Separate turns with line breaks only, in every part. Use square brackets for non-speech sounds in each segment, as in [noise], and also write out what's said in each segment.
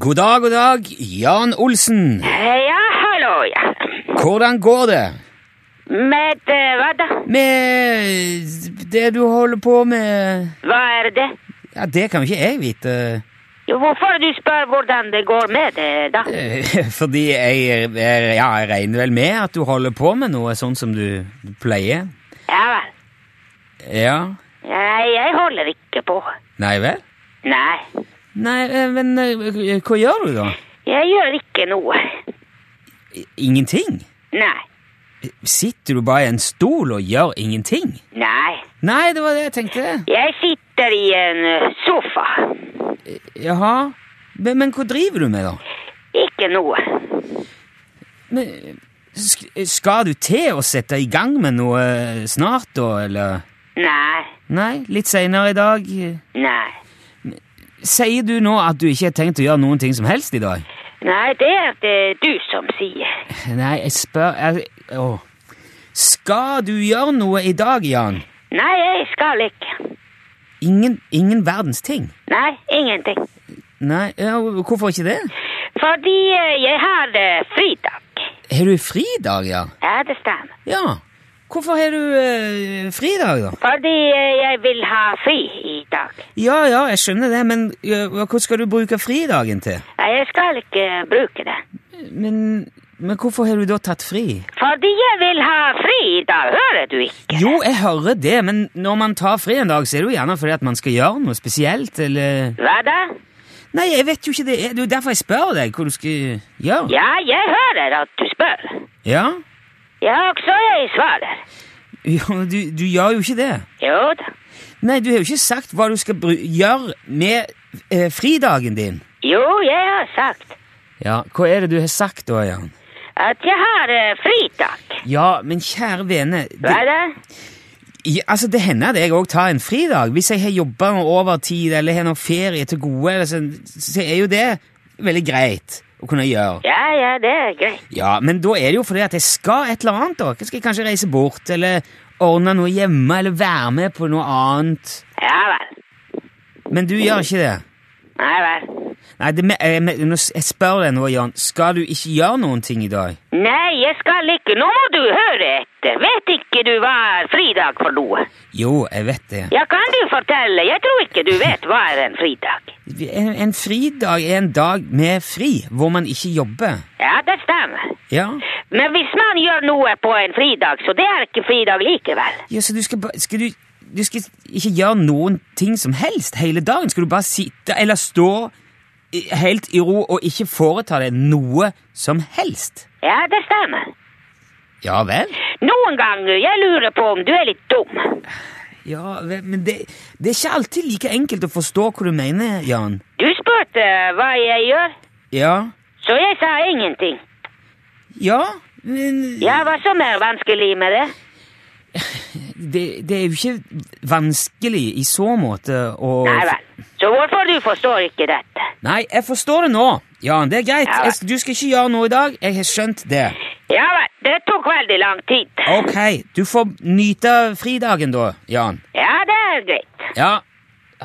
God dag, god dag, Jan Olsen.
Eh, Ja, hallo, ja.
Hvordan går det
Med eh, hva da?
med det du holder på med?
Hva er det?
Ja, Det kan jo ikke jeg vite, [laughs]
Jo, hvorfor du spør hvordan det går med det, da?
Eh, fordi jeg, jeg, ja, jeg regner vel med at du holder på med noe sånn som du pleier.
Ja vel.
Ja.
Nei, jeg holder ikke på.
Nei vel?
Nei,
Nei, eh, men eh, hva gjør du da?
jeg gjør ikke noe.
I- Ingenting?
Nei,
Sitter du bare i en stol og gjør ingenting?
nei.
Nei, det var det jeg tenkte.
Jeg sitter i en eh, sofa.
Jaha. Men, men hva driver du med, da?
Ikke noe.
Men, sk skal du til å sette i gang med noe snart, da, eller?
Nei,
Nei, litt seinere i dag.
nei.
Sier du nå at du ikke har tenkt å gjøre noen ting som helst i dag?
Nei, det er det du som sier.
Nei, jeg spør jeg, å. Skal du gjøre noe i dag, Jan?
Nei, jeg skal ikke.
Ingen, ingen verdens ting.
Nei, ingenting.
Nei, ja, hvorfor ikke det?
Fordi eh, jeg har eh, fridag.
Har du fridag, ja?
Ja, det stemmer.
Ja. Hvorfor har du eh, fridag, da?
Fordi eh, jeg vil ha fri i dag.
Ja, ja, jeg skjønner det, men eh, hva skal du bruke fridagen til?
Nei, Jeg skal ikke bruke den.
Men, men hvorfor har du da tatt fri?
Fordi jeg vil ha fri i dag, hører du ikke?
Jo, jeg hører det, men når man tar fri en dag, så er det jo gjerne fordi at man skal gjøre noe spesielt, eller
Hva da?
Nei, jeg vet jo ikke det. Det er jo derfor jeg spør deg hva du skal gjøre.
Ja, jeg hører at du spør.
Ja? [laughs]
Ja, også jeg svarer.
Jo, du, du gjør jo ikke det.
Jo da.
Nei, du har jo ikke sagt hva du skal bru gjøre med eh, fridagen din.
Jo, jeg har sagt
Ja, hva er det du har sagt da, Jan?
at jeg har eh, fridag.
Ja, men kjære vene det,
Hva da?
ja, altså, det hender at jeg òg tar en fridag. Hvis jeg har jobba noe overtid eller har noe ferie til gode, eller sånn, så er jo det veldig greit å kunne gjøre.
Ja, ja, det er greit.
Ja, men da er det jo fordi at jeg skal et eller annet, da. Jeg skal kanskje reise bort, eller ordne noe hjemme, eller være med på noe annet.
Ja vel.
Men du gjør ikke det.
Nei vel.
Nei, det, me- eh, me- nå s- jeg spør deg nå, Jan. Skal du ikke gjøre noen ting i dag?
Nei, jeg skal ikke. Nå må du høre etter. Vet ikke du hva er fridag for noe?
Jo, jeg vet det.
Ja, kan du fortelle? Jeg tror ikke du vet hva er en fridag.
En, en fridag er en dag med fri, hvor man ikke jobber.
Ja, det stemmer.
Ja?
Men hvis man gjør noe på en fridag, så det er ikke fridag likevel.
ja så du skal bare Skal du du skal ikke gjøre noen ting som helst hele dagen? Skal du bare sitte eller stå i- helt i ro og ikke foreta deg noe som helst?
Ja, det stemmer.
Ja vel?
Noen ganger jeg lurer på om du er litt dum.
Ja, ve- men det, det er ikke alltid like enkelt å forstå hva du mener, Jan.
Du spurte hva jeg gjør,
Ja?
så jeg sa ingenting.
Ja, men
Ja, hva som er vanskelig med det?
det, det er jo ikke vanskelig i så måte å
Nei vel. Så hvorfor du forstår ikke dette?
Nei, jeg forstår det nå, Jan. Det er greit.
Ja vel.
Jeg, du skal ikke gjøre noe i dag. Jeg har skjønt det.
Ja vel, det tok veldig lang tid.
Ok, du får nyte fridagen da, Jan.
Ja, det er greit.
Ja,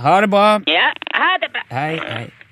ha det bra.
Ja, ha det bra.
Hei, hei.